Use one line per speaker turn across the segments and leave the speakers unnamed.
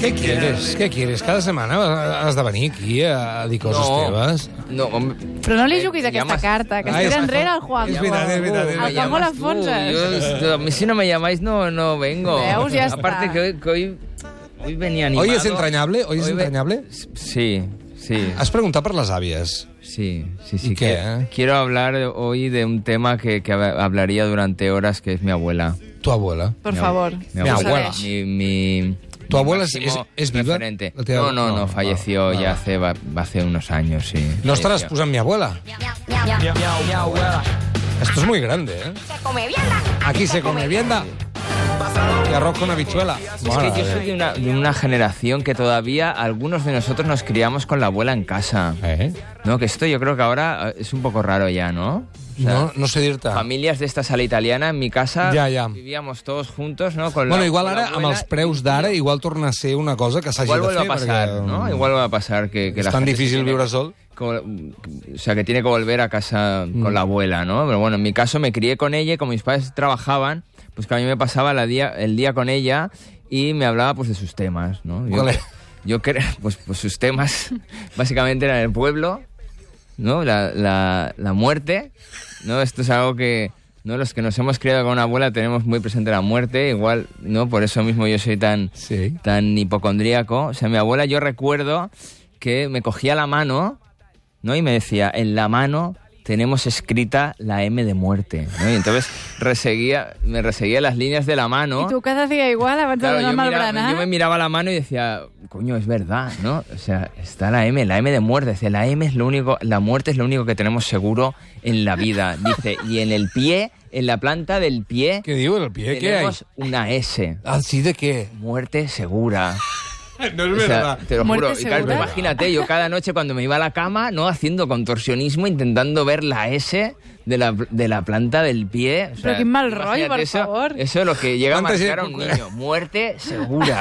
Què quieres? Què quieres? Cada setmana has de venir aquí a dir coses teves?
No, home,
Però no
Eh,
li juguis
Ja
aquesta
m'has-
carta, que es
Ai,
tira
Ah, és-
enrere el Juan.
és veritat, és veritat, és
Uh, El
veritat.
Juanjo
tú, yo,
l'enfonses.
esto, a mí Uh, si no me llamáis no, no vengo.
Veus, ja està.
Aparte que hoy, que hoy, hoy venía animado.
Hoy es entrañable? Hoy es
ve-
entrañable?
Sí, sí,
Has preguntat per les àvies.
sí, sí,
¿Y
sí.
qué,
que-
eh?
Quiero hablar hoy de un tema que, que hablaría durante horas, que es mi abuela.
Tu abuela.
Per
Mi ab-
favor.
Mi
abuela.
abuela.
Segueix.
Mi, mi-
¿Tu
mi
abuela es-
máximo
es- es viva?
referente.
La tía-
No, no,
no,
no,
no,
falleció
vale,
ya
vale.
hace, va- hace unos años, sí.
No estaràs
falleció.
posant mi abuela. Esto es muy grande, eh? Aquí se come vianda. Y arroz con habichuela.
Es que
Mare
yo
de
soy de una, de una generación que todavía algunos de nosotros nos criamos con la abuela en casa.
Déu. Eh?
No, que esto yo creo que ahora eh, es un poco raro ya, ¿no? O sea,
No, no sé dir-te.
Familias de esta sala italiana, en mi casa
Ya, ya.
vivíamos todos juntos, ¿no? Con la-
Bueno, igual
con la
ara, amb
abuela.
els preus d'ara, igual torna a ser una cosa que s'hagi
Igual
de
vuelve
fer.
a pasar,
perquè, mm,
¿no? Igual va a pasar que, que
És
la
tan
gente se
difícil
tiene-
viure sol. Mm.
con- o sea, que tiene que volver a casa con la abuela, ¿no? Pero bueno, en mi caso me crié con ella y como mis padres trabajaban, pues que a mí me pasaba la día, el día con ella y me hablaba pues de sus temas, ¿no? Yo,
¿Cuál es?
yo cre- pues, pues sus temas básicamente eran el pueblo, ¿no? La, la, la muerte, ¿no? Esto es algo que... ¿no? Los que nos hemos criado con una abuela tenemos muy presente la muerte, igual, ¿no? Por eso mismo yo soy tan,
Sí.
tan hipocondríaco. O sea, mi abuela, yo recuerdo que me cogía la mano, ¿no? Y me decía, en la mano tenemos escrita la M de muerte, ¿no? Y entonces reseguía, me reseguía las líneas de la mano.
I tu cada dia igual abans de ¿eh?
Claro,
donar
yo,
amb el
miraba-
berenar.
yo me miraba la mano y decía, coño, es verdad, ¿no? O sea, está la M, la M de muerte. Dice, la M es lo único, la muerte es lo único que tenemos seguro en la vida. Dice, y en el pie, en la planta del pie,
Què diu, el pie? Què hi ha?
tenemos una S.
Ah, sí, de què?
Muerte segura.
No és
O sea, te lo
Muerte
juro. Y claro,
segura.
imagínate, yo cada noche cuando me iba a la cama, ¿no? Haciendo contorsionismo, intentando ver la S de la, de la planta del pie. O sea,
Pero qué mal
imagínate
rollo, por
eso,
favor.
Eso es lo que llega a
¿Cuánta
marcar
gente-
a un niño. Muerte segura.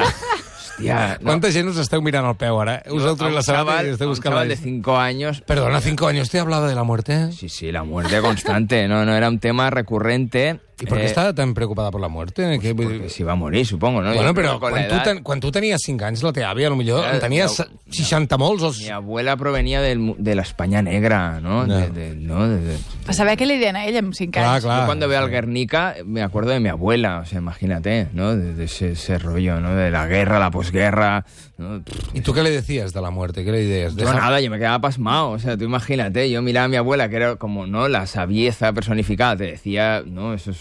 Hostia. no.
Quanta gent us esteu mirant al peu ara? eh? Us heu
A
tret
un
la sabata
chaval-
i
a
esteu
un
buscant la...
chaval de 5 años.
Perdona, cinco años, ¿te hablaba de la eh? muerte?
Sí, sí, la muerte constante. No, no, era un tema recurrente.
¿Y por qué
Eh,
estaba tan preocupada por la muerte? Que-
Porque se iba a morir, supongo, ¿no?
Bueno,
Yo creo
però
que con la
quan tu,
edad-
ten, quan tu tenies 5 anys, la teva àvia potser
Ja,
en tenia
ja,
60 molts. O...
Mi abuela provenía del mu- de la España negra, ¿no?
Ya.
De- de- ¿no? De- de-
A saber què li deien a ell amb 5
Clar,
anys.
clar.
Yo cuando veo al Guernica me acuerdo de mi abuela, o sea, imagínate, ¿no? De, de ese, ese rollo, ¿no? De la guerra, la posguerra, ¿no? Pff,
¿Y tú qué le decías de la muerte? ¿Qué le decías?
Yo nada, yo me quedaba pasmado, o sea, tú imagínate, yo miraba a mi abuela que era como, ¿no? La sabieza personificada, te decía, ¿no? Esos,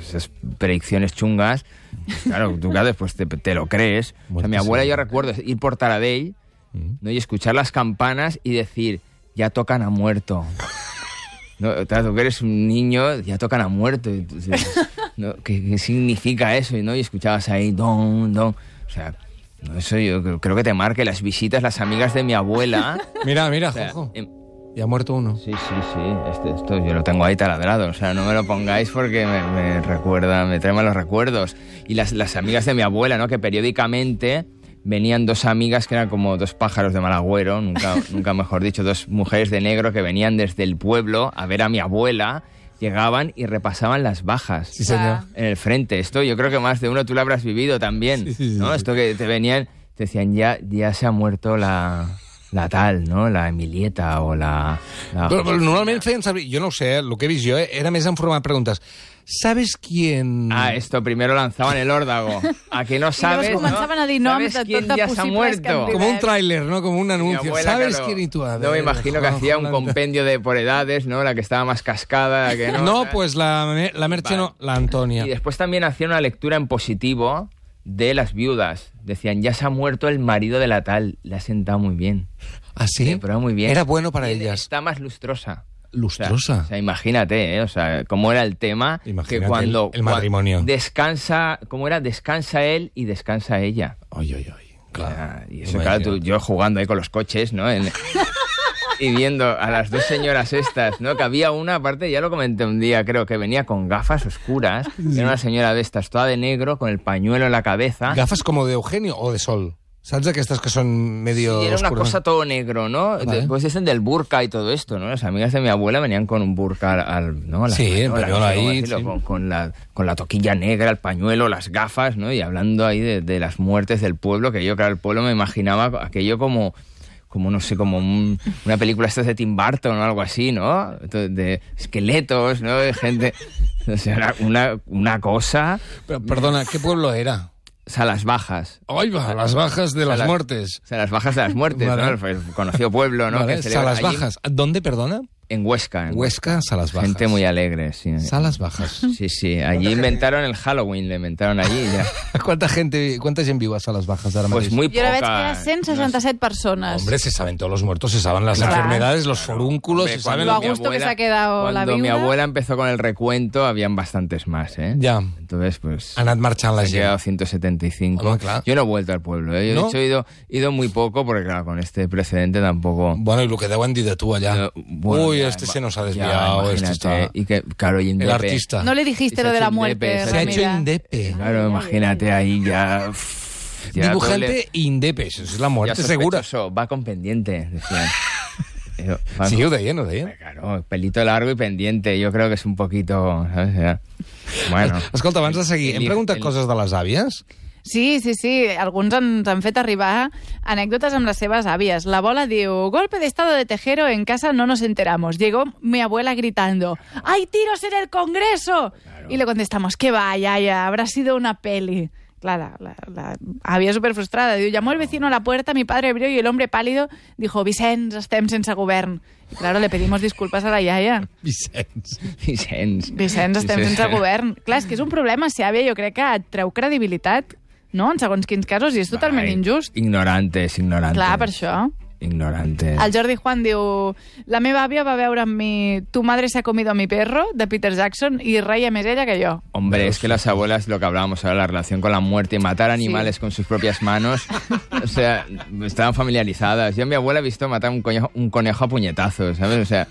esas predicciones chungas. pues Claro, tú claro, después te, te lo crees. O sea, mi abuela yo recuerdo ir por Taradell, ¿no? Y escuchar las campanas y decir, ya tocan a muerto. No, claro, tú que eres un niño, ya tocan a muerto. y tú dices, ¿no? ¿Qué, qué significa eso? Y, ¿no? y escuchabas ahí, don, don. O sea, no, eso yo creo- creo que te marque las visitas, las amigas de mi abuela.
Mira, mira,
O sea,
Jojo.
em-
Ya ha muerto uno.
sí, sí, sí, este- esto yo lo tengo ahí taladrado. O sea, no me lo pongáis porque me, me recuerda, me trae malos recuerdos. Y las, las amigas de mi abuela, ¿no? Que periódicamente venían dos amigas que eran como dos pájaros de mal agüero, nunca, nunca mejor dicho, dos mujeres de negro que venían desde el pueblo a ver a mi abuela, llegaban y repasaban las bajas
Sí, senyor.
Ah.
en el frente. Esto yo creo que más de uno tú lo habrás vivido también, ¿no? Esto que te venían, te decían, ya, ya se ha muerto la, la tal, ¿no? La Emilieta o la... la-
Però, però normalment feien servir... Jo no ho sé, eh, el que he vist jo eh, era més en forma de preguntes. ¿Sabes quién...?
Ah, esto primero lanzaban el órdago. A que no sabes,
comenzaban
¿no?
a dir nombres
¿Sabes
de
quién
todas
ya se ha
posibles
muerto?
candidatas.
Como un tráiler, ¿no? Como un
Mi
anuncio.
abuela,
¿Sabes
claro,
quién y tú? A
No me
ver,
imagino que
Jojo,
hacía un
la-
compendio de por edades, ¿no? La que estaba más cascada, la que no.
No,
tal.
pues la, me- la Merche no, la Antonia.
Y después también hacían una lectura en positivo de las viudas. Decían, ya se ha muerto el marido de la tal. Le ha sentado muy bien.
¿Ah, sí?
Sí, pero muy bien.
Era bueno para
Tiene-
ellas.
Está más lustrosa. O sea,
Lustrosa.
o sea, imagínate, ¿eh? O sea, cómo era el tema
Imagínate
que cuando...
el- el matrimonio.
cua- descansa, cómo era, descansa él y descansa ella.
Oi, oi, oi.
Ah,
Clar.
y eso, claro, tú- yo jugando ahí con los coches, ¿no? En- y viendo a las dos señoras estas, ¿no? Que había una, aparte, ya lo comenté un día, creo, que venía con gafas oscuras. Era una señora de estas, toda de negro, con el pañuelo en la cabeza.
¿Gafas como de Eugenio o de Sol? Saps aquestes que són medio...
Sí, era una
oscures?
cosa todo negro, ¿no?
Vale.
Después dicen del burka y todo esto, ¿no? Las amigas de mi abuela venían con un burka al, al- ¿no? A la-
Sí, el
¿no? La-
pañuelo
no sé
ahí,
cómo decirlo,
sí.
con, con la, con la toquilla negra, el pañuelo, las gafas, ¿no? Y hablando ahí de, de las muertes del pueblo, que yo, claro, el pueblo me imaginaba aquello como como no sé, como un- una película esta de Tim Burton o algo así, ¿no? De, de esqueletos, ¿no? De gente, o sea, era una, una cosa,
Però, perdona, què pueblo era?
o sea, las bajas,
Ay, va, las bajas de las
las-
muertes.
o sea, las bajas de las muertes,
Vale.
¿no? El, el conocido pueblo, ¿no?
Vale,
Que celebra
Salas
allí-
Bajas. ¿Dónde, perdona?
En Huesca. en
Huesca, Salas Bajas.
Gente muy alegre, sí.
Salas Bajas.
Sí, sí. Allí inventaron el Halloween, lo inventaron allí. y Ya.
¿Cuánta gente, cuánta gent viu a Salas Bajas ara mateix?
Pues muy
Jo
poca.
la veig que hi ha 167 persones.
Hombre, se saben todos los muertos, se saben las
Claro.
enfermedades, los forúnculos, se saben...
Lo a
mi
gusto que se ha quedado la
Cuando mi
viuda.
abuela empezó con el recuento, habían bastantes más, ¿eh?
Ja,
Entonces, pues...
ha anat marxant la
He llegado a
gent.
175.
Home, clar.
Yo no he vuelto al pueblo, ¿eh? Yo,
Ah, ¿No?
de hecho, he ido, he ido muy poco porque, claro, con este precedente tampoco...
Bueno, i el que deuen dir de tu allà.
No, Eh, bueno,
Uy,
ya,
este se nos ha
ya,
desviado, este
imagínate. eh,
está...
Y que, claro, y en
El
DP,
artista.
No le dijiste lo de la muerte,
Se
Se ha
ha
hecho
Ramira.
indepe.
Claro, imagínate ahí ya... ya doble-
Dibujante indepe, això és la
Ya
mort segura.
sospechoso, va con pendiente, decían. Pero, va
Sí,
con-
ho deien, ho deien.
Claro, pelito largo y pendiente. Yo creo que es un poquito, ¿sabes? Ya. Bueno.
Escolta, abans de seguir,
El-
hem preguntat
el-
coses de les àvies?
Sí, sí, sí. Alguns ens han fet arribar anècdotes amb les seves àvies. La bola diu, golpe de estado de Tejero, en casa no nos enteramos. Llegó mi abuela gritando, ¡hay tiros en el Congreso! Y le contestamos, que vaya, ya, habrá sido una peli. Claro, la, la, la àvia súper frustrada. Diu, llamó el vecino a la puerta, mi padre abrió y el hombre pálido dijo, Vicenç, estem sense govern. Y claro, le pedimos disculpas a la iaia.
Vicenç.
Vicenç.
Vicenç, estem
Vicenç.
sense govern. Clar, és que és un problema ser àvia, jo crec que et treu credibilitat, no?, en segons quins casos, i és totalment
Ai,
injust.
Ignorantes, ignorantes.
Clar, per això.
Ignorantes.
El Jordi Juan diu... La meva àvia va veure amb mi Tu madre se ha comido a mi perro, de Peter Jackson, i reia més ella que jo.
Hombre, es que las abuelas, lo que hablábamos ahora, la relación con la muerte, matar animales con sus propias manos, o sea, estaban familiarizadas. Yo a mi abuela he visto matar un conejo, un conejo a puñetazos, ¿sabes? O sea,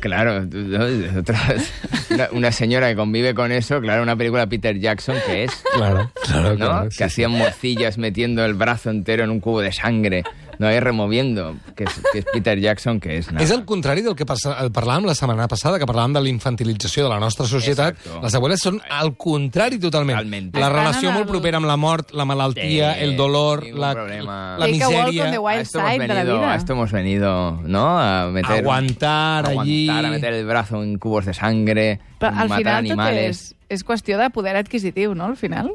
claro, tú- ¿no? Otra- una, una señora que convive con eso, claro, una película de Peter Jackson que es,
Claro, claro,
¿no?
claro.
Que
sí, sí.
hacían morcillas metiendo el brazo entero en un cubo de sangre, no ahí removiendo, que es, que es Peter Jackson que es. nada.
És el contrari del que passa, el parlàvem la setmana passada, que parlàvem de la infantilització de la nostra societat.
Exacto.
Les abueles són al contrari totalment.
Totalment.
La
Estan
relació
en
molt
el-
propera amb la mort, la malaltia,
Sí,
el dolor,
ningún
la,
problema.
la
Take a walk on
misèria...
the wild
A Ah, esto hemos
side de la
venido-
vida.
A esto hemos venido, ¿no? A meter,
Aguantar allí.
aguantar, a meter el brazo en cubos de sangre,
Però al
matar
final tot és,
animales.
és qüestió de poder adquisitiu, no?, al final.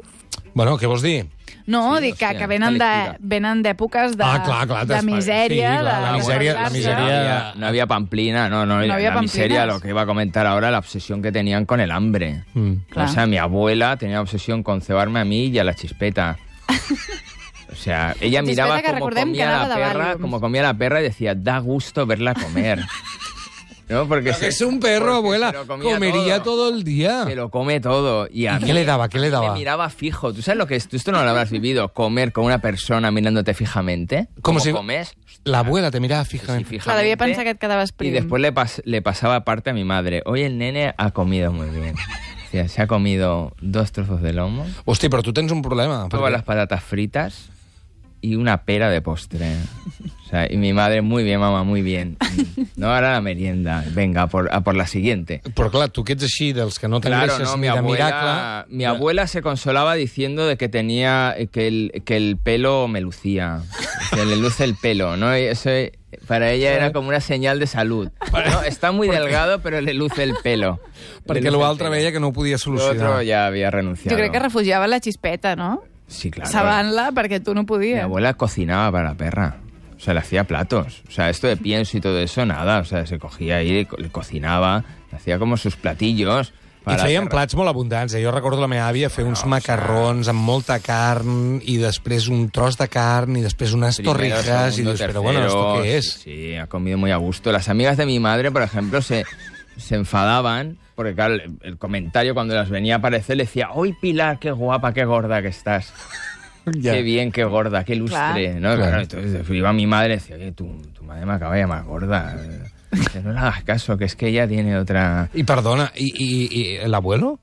Bueno, què vols dir?
No,
Sí,
sí, dic que,
hòstia,
que venen de-
una lectura.
venen d'èpoques de,
Ah, clar, clar,
de
t'espa-
misèria.
sí, clar,
de,
la misèria- la
de-
misèria-
No había, no había pamplina, no, no,
había
la miseria,
pamplinas.
lo que iba a comentar ahora, la obsesión que tenían con el hambre.
Mm.
Claro.
O sea, mi abuela tenía obsesión con cebarme a mí y a la chispeta. O sea, ella
Chispeta
miraba
que
cómo
recordem que
comía
anava
la
de
perra,
Valium.
como comía la perra y decía, da gusto verla comer. ¿No? Porque
Que és un perro,
porque
abuela.
se lo comía
Comería todo el día.
Se lo come todo. Y a
¿Y
mí
qué le daba? ¿Qué le
me
daba?
miraba fijo. ¿Tú sabes lo que es? Tú esto no lo habrás vivido, comer con una persona mirándote fijamente.
Como si-
comes?
La abuela te mirava
Sí,
fijament.
Clar, devia pensar que et quedaves
Y
prim.
después le, pas- le pasaba parte a mi madre. Hoy el nene ha comido muy bien. O sea, se ha comido dos trozos de lomo,
Hosti, però tu tens un problema.
todas
perquè-
las patatas fritas y una pera de postre. O sea, y mi madre, muy bien, mamá, muy bien. No, ahora la merienda. Venga, a por, a por la siguiente.
Però clar, tu que ets així, dels que no
Claro,
t'engreixes
no, mi
ni de miracle... ¿eh?
abuela, mi abuela se consolaba diciendo de que tenía eh, que el, que el pelo me lucía, que le luce el pelo, ¿no? Y eso eh, para ella era como una señal de salud. No, está muy delgado, pero le luce el pelo.
Perquè l'altre veia que no ho podia
Lo otro
solucionar.
ya había renunciado.
Jo crec que refugiava la xispeta, no?
Sí, claro.
Sabant-la perquè tu no
Mi
podies.
abuela cocinaba para la perra. O sea, le hacía platos. O sea, esto de pienso y todo eso, nada. O sea, se cogía ahí, co- le cocinaba, le hacía como sus platillos.
I
para la
feien
perra.
plats molt abundants. eh? Jo recordo la meva àvia fer uns macarrons amb molta carn i després un tros de carn i després unes
Primero,
torrijas i
segundo,
dius, però bueno, esto
tercero,
què és?
Sí, sí, ha comido muy a gusto. Las amigas de mi madre, por ejemplo, se, se enfadaban porque, claro, el, el comentario cuando las venía a aparecer le decía, ¡Uy, Pilar, qué guapa, qué gorda que estás!
Ja.
Qué bien, qué gorda, qué lustre. ¿no?
Claro.
Claro, entonces iba mi madre y decía, oye, tu, tu madre me acaba de llamar gorda. Dice, No le hagas caso, que es que ella tiene otra...
I perdona, i, i, i l'abuelo?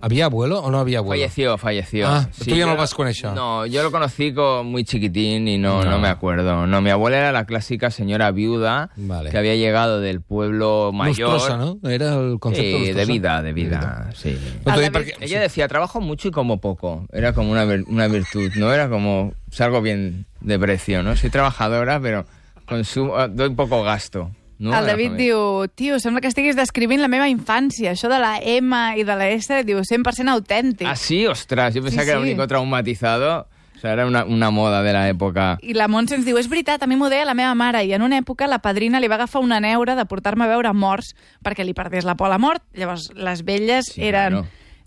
¿Había abuelo o no había abuelo?
Falleció, falleció.
Ah, tu ya no
yo-
el vas conèixer.
No, yo lo conocí co- muy chiquitín y no, no. me acuerdo. No, mi abuela era la clásica señora viuda
Vale.
que había llegado del pueblo mayor.
Lustrosa, no? Era el concepte
Sí, de
lustrosa?
vida, de vida, sí.
No t'ho
A la
dic perquè...
Ella decía, trabajo mucho y como poco. Era como una, vir- una virtud, ¿no? Era como, salgo bien de precio, ¿no? Soy trabajadora, pero consumo, eh, doy poco gasto. ¿no? A
El
la
David
familia.
diu, tio, sembla que estiguis descrivint la meva infància. Això de la M i de la S, diu, 100% autèntic.
Ah, sí, ostras, yo pensaba
Sí,
que era
sí.
el único traumatizado. O sea, era una, una moda de la época.
I la Montse ens diu, és veritat, a mi m'ho deia la meva mare i en una època la padrina li va agafar una neura de portar-me a veure morts perquè li perdés la por a la mort. Llavors, les velles
Sí,
eren
claro.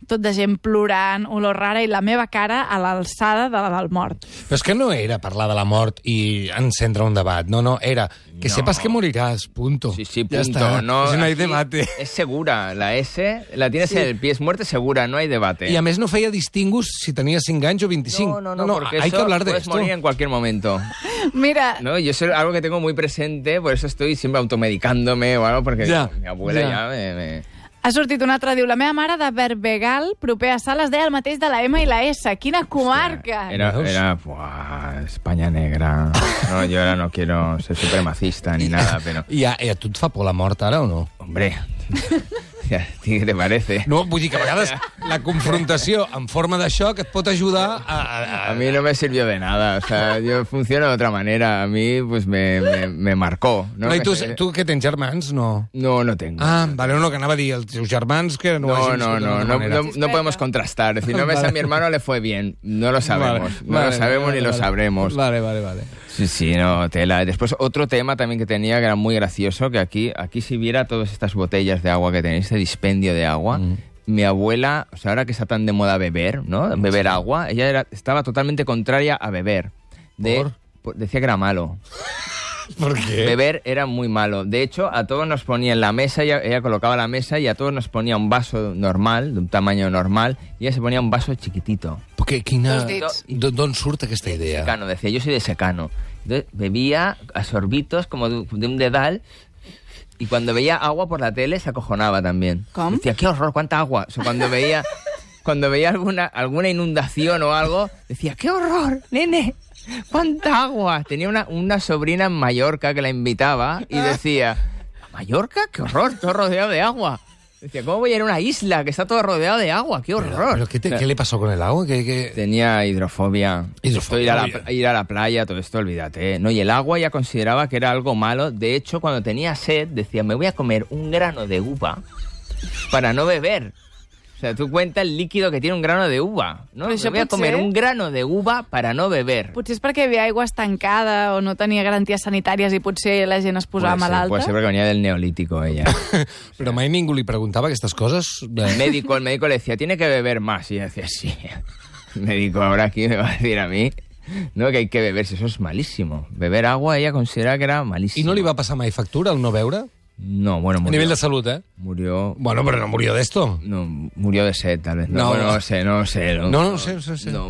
tot de gent plorant, olor rara i la meva cara a l'alçada de la del mort.
Però és que no era parlar de la mort i encendre un debat. No, no, era que
No.
sepas que morirás, punto.
Sí, sí, punto.
Ya está.
No,
Si no hay
aquí
debate.
Es segura, la S la tienes en el pie, es muerte segura, no hay debate.
I a més no feia distingus si tenia 5 anys o 25.
no, no, no, porque
hay
eso
que hablar de
puedes
esto.
morir en cualquier momento.
Mira,
No, yo es algo que tengo muy presente, por eso estoy siempre automedicándome o algo, porque
Ya,
mi abuela
ya.
ya, me, me-
ha sortit un altre, diu, la meva mare de Berbegal, proper a Sales, deia el mateix de la M i la S. Quina comarca!
Era,
Dios.
era buah, España negra. No, yo ahora no quiero ser supremacista ni nada, pero...
I a, i a tu et fa por la mort ara o no?
Hombre, ya, ¿qué te parece?
No, vull dir que a vegades la confrontació en forma de xoc et pot ajudar a... a,
A
a...
mí no me sirvió de nada, o sea, yo funciono de otra manera. A mí, pues, me, me, me marcó. No,
No, i tu, tu que tens germans, no?
no, no tengo.
Ah, vale, no, que anava a dir els teus germans que no,
No,
hagin
no,
sigut
no,
d'una
no,
manera.
no, no podemos contrastar. Si no ves a mi hermano le fue bien. No lo sabemos.
Vale,
no
vale,
lo sabemos
vale,
ni lo
vale.
sabremos.
Vale, vale, vale.
Sí, sí, no, tela. Después otro tema también que tenía que era muy gracioso, que aquí, aquí si viera todas estas botellas de agua que tenéis, este dispendio de agua, mi abuela, o sea, ahora que está tan de moda beber, ¿no? Beber agua, ella era- estaba totalmente contraria a beber. De,
¿Por?
po- Decía que era malo.
Per què?
Beber era muy malo. De hecho, a todos nos ponía en la mesa, ella, ella colocaba la mesa y a todos nos ponía un vaso normal, de un tamaño normal, y ella se ponía un vaso chiquitito.
Perquè quina...
Dos dits.
D'on d'on surt aquesta idea?
secano, decía, yo soy de secano. Entonces bebía a sorbitos como de, de un dedal y cuando veía agua por la tele se acojonaba también.
¿Cómo?
Decía, qué horror, cuánta agua. O sea, cuando veía, cuando veía alguna, alguna inundación o algo, decía, qué horror, nene, cuánta agua. Tenía una, una sobrina en Mallorca que la invitaba y decía, Mallorca, qué horror, todo rodeado de agua. Decía, ¿cómo voy a ir a una isla que está todo rodeado de agua? ¡Qué horror!
Però què, te, què li passó con el agua? Que, que...
Tenía hidrofobia.
Hidrofobia.
Esto, ir, a la, ir a la playa, todo esto, olvídate. ¿eh? No, y el agua ya consideraba que era algo malo. De hecho, cuando tenía sed, decía, me voy a comer un grano de uva para no beber. O sea, tú cuenta el líquido que tiene un grano de uva, ¿no?
Pero
Me
eso
voy a
puede
comer
ser.
un grano de uva para no beber.
Potser és perquè hi havia aigua estancada o no tenia garanties sanitàries i potser la gent es posava
Puede ser,
malalta.
puede ser porque venía del neolítico ella.
Però mai ningú li preguntava aquestes coses?
El
Eh,
médico, el médico le decía, tiene que beber más. Y yo decía, sí. El médico ahora aquí me va a decir a mí, no, que hay que beber, si eso es malísimo. Beber agua ella consideraba que era malísimo.
I no li va passar mai factura el no veure?
No, bueno,
A
murió.
nivell de salut, eh?
Murió...
Bueno, però no murió d'esto.
No, murió de sed, tal vez. No,
No.
bueno, no sé, no sé. No,
No, no sé, sí, sí.
No,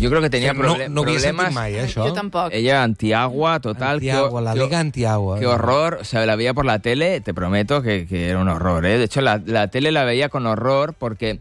yo creo que tenía
no,
proble-
no havia
problemas...
sentit mai, eh, això.
Jo tampoc.
Ella antiagua, total. qué-
Antiagua, la
qué-
liga antiagua.
Qué horror. O sea, la veía por la tele, te prometo que, que era un horror, ¿eh? De hecho, la, la tele la veía con horror porque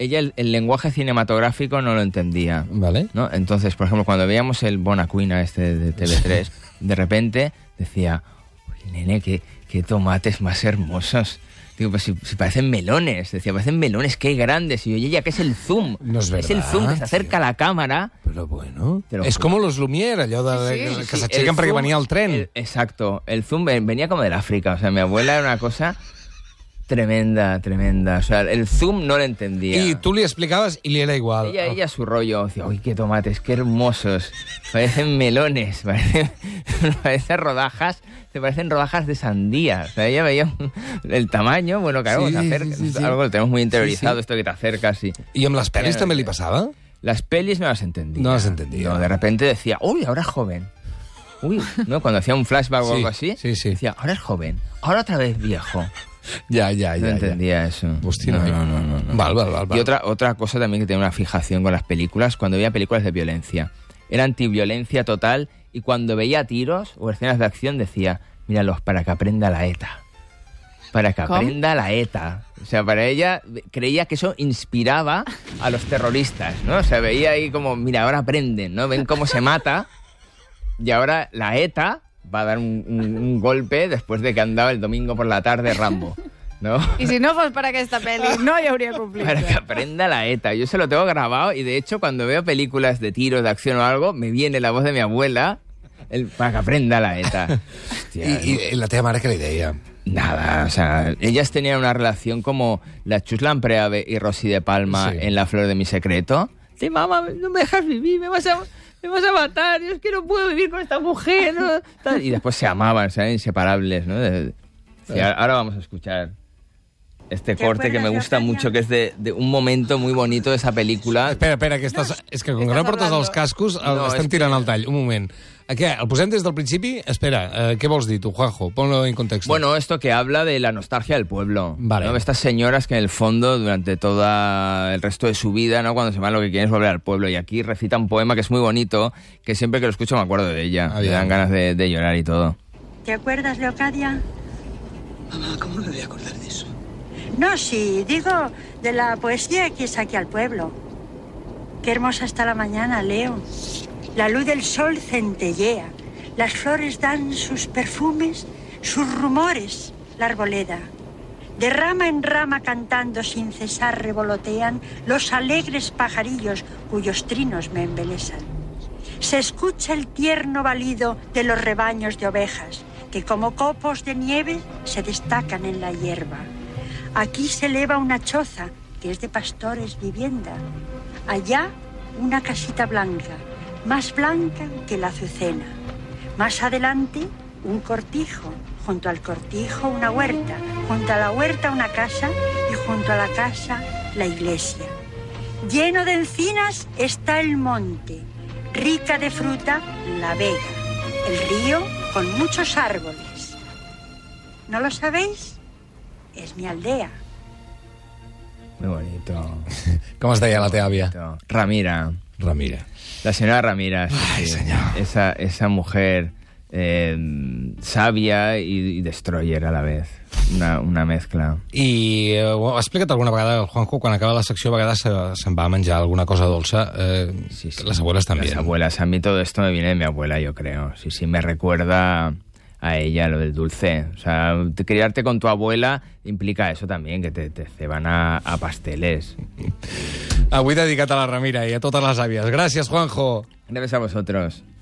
ella el, el lenguaje cinematográfico no lo entendía.
Vale.
¿no? Entonces, por ejemplo, cuando veíamos el Bonacuina este de TV3, de repente decía, uy, nene, qué, qué tomates más hermosos. Digo, pues si, si parecen melones. Decía, parecen melones, qué grandes. Y yo, ella, ¿qué es el zoom?
No es
el
verdad,
zoom que
tío.
se acerca a la cámara.
Però bueno...
Te lo
És
juro.
com los Lumière, allò de,
Sí, sí,
que
Sí,
s'aixequen perquè
zoom-
venia el tren.
el- exacto, el zoom ven- venía como del África, o sea, mi abuela era una cosa tremenda, tremenda, o sea, el zoom no lo entendía.
I tu li explicaves i li era igual.
Ella, ella su rollo, decía, uy, qué tomates, qué hermosos, parecen melones, parecen, parecen rodajas, te parecen rodajas de sandía, o sea, ella veía un- el tamaño, bueno, claro,
Sí,
te
sí,
acerca-
sí, sí, sí.
algo lo tenemos muy interiorizado,
Sí, sí.
esto que te acercas y...
I amb les pel·lis
Era-
també li passava?
Las pelis no las entendía.
No las entendía.
No, de repente decía, uy, ahora es joven. Uy, ¿no? Cuando hacía un flashback
Sí,
o algo así,
sí, sí.
decía, ahora es joven, ahora otra vez viejo.
Ja, ja,
No entendía eso.
Hòstia,
no,
noi.
no, no, no, no.
Val, val, val. val.
Y otra, otra cosa también que tenía una fijación con las películas, cuando veía películas de violencia. Era antiviolencia total y cuando veía tiros o escenas de acción decía, míralos para que aprenda la ETA. para que
¿Cómo?
aprenda la ETA. O sea, para ella creía que eso inspiraba a los terroristas, ¿no? O sea, veía ahí como, mira, ahora aprenden, ¿no? Ven cómo se mata y ahora la ETA va a dar un, un- un golpe después de que andaba el domingo por la tarde Rambo, ¿no?
I si no fos per aquesta pel·li, no hi hauria conflicte.
Para que aprenda la ETA. Yo se lo tengo grabado y de hecho cuando veo películas de tiros, de acción o algo, me viene la voz de mi abuela el, para que aprenda la ETA. Hostia,
I, I, la teva mare què li deia?
Nada, o sea, ellas tenían una relación como la Chuslan Preave y Rosy de Palma
Sí.
en La Flor de mi Secreto. Sí, mamá, no me dejas vivir, me vas a, me vas a matar, yo es que no puedo vivir con esta mujer. ¿no? Tal. Y después se amaban, o sea, eran inseparables, ¿no? De- sí, a- ahora vamos a escuchar este corte que me gusta mucho, que es de, de un momento muy bonito de esa película.
Ah, Espera, espera, que estàs... No, és que com que no portes els cascos, el,
No,
no, estem
és
tirant al tall. Un moment. A què? El posem des del principi? Espera, eh, què vols dir tu, Juanjo? Ponlo en contexto.
Bueno, esto que habla de la nostalgia del pueblo.
Vale.
¿no? Estas señoras que en el fondo, durante todo el resto de su vida, ¿no? cuando se van lo que quieren es volver al pueblo. Y aquí recita un poema que es muy bonito, que siempre que lo escucho me acuerdo de ella.
Ah,
me
bien.
dan ganas de, de llorar y todo.
¿Te acuerdas, Leocadia?
Mamá, ¿cómo me voy a acordar de eso?
No, sí, digo de la poesía que saqué al pueblo. Qué hermosa está la mañana, Leo. La luz del sol centellea. Las flores dan sus perfumes, sus rumores, la arboleda. De rama en rama cantando sin cesar revolotean los alegres pajarillos cuyos trinos me embelesan. Se escucha el tierno balido de los rebaños de ovejas que como copos de nieve se destacan en la hierba. Aquí se eleva una choza que es de pastores vivienda. Allá una casita blanca, más blanca que la azucena. Más adelante un cortijo, junto al cortijo una huerta, junto a la huerta una casa y junto a la casa la iglesia. Lleno de encinas está el monte, rica de fruta la vega, el río con muchos árboles. ¿No lo sabéis? Es mi aldea.
Muy bonito.
Com es deia la teva àvia?
bonito. Ramira.
Ramira.
La señora Ramírez.
Ay, señor.
Esa, esa mujer eh, sabia y, y destroyer a la vez. Una, una mezcla.
I eh, ho ha explicat alguna vegada el Juanjo, quan acaba la secció, a vegades se- se'n va a menjar alguna cosa dolça. Eh, sí, sí. Les abueles també.
Las abuelas, a mí todo esto me viene de mi abuela, yo creo. Sí, sí, me recuerda a ella lo del dulce. O sea, te- criarte con tu abuela implica eso también, que te, te ceban a, a pasteles.
Avui dedicat a la Ramira i a totes les àvies. Gràcies, Juanjo.
Gracias a vosotros.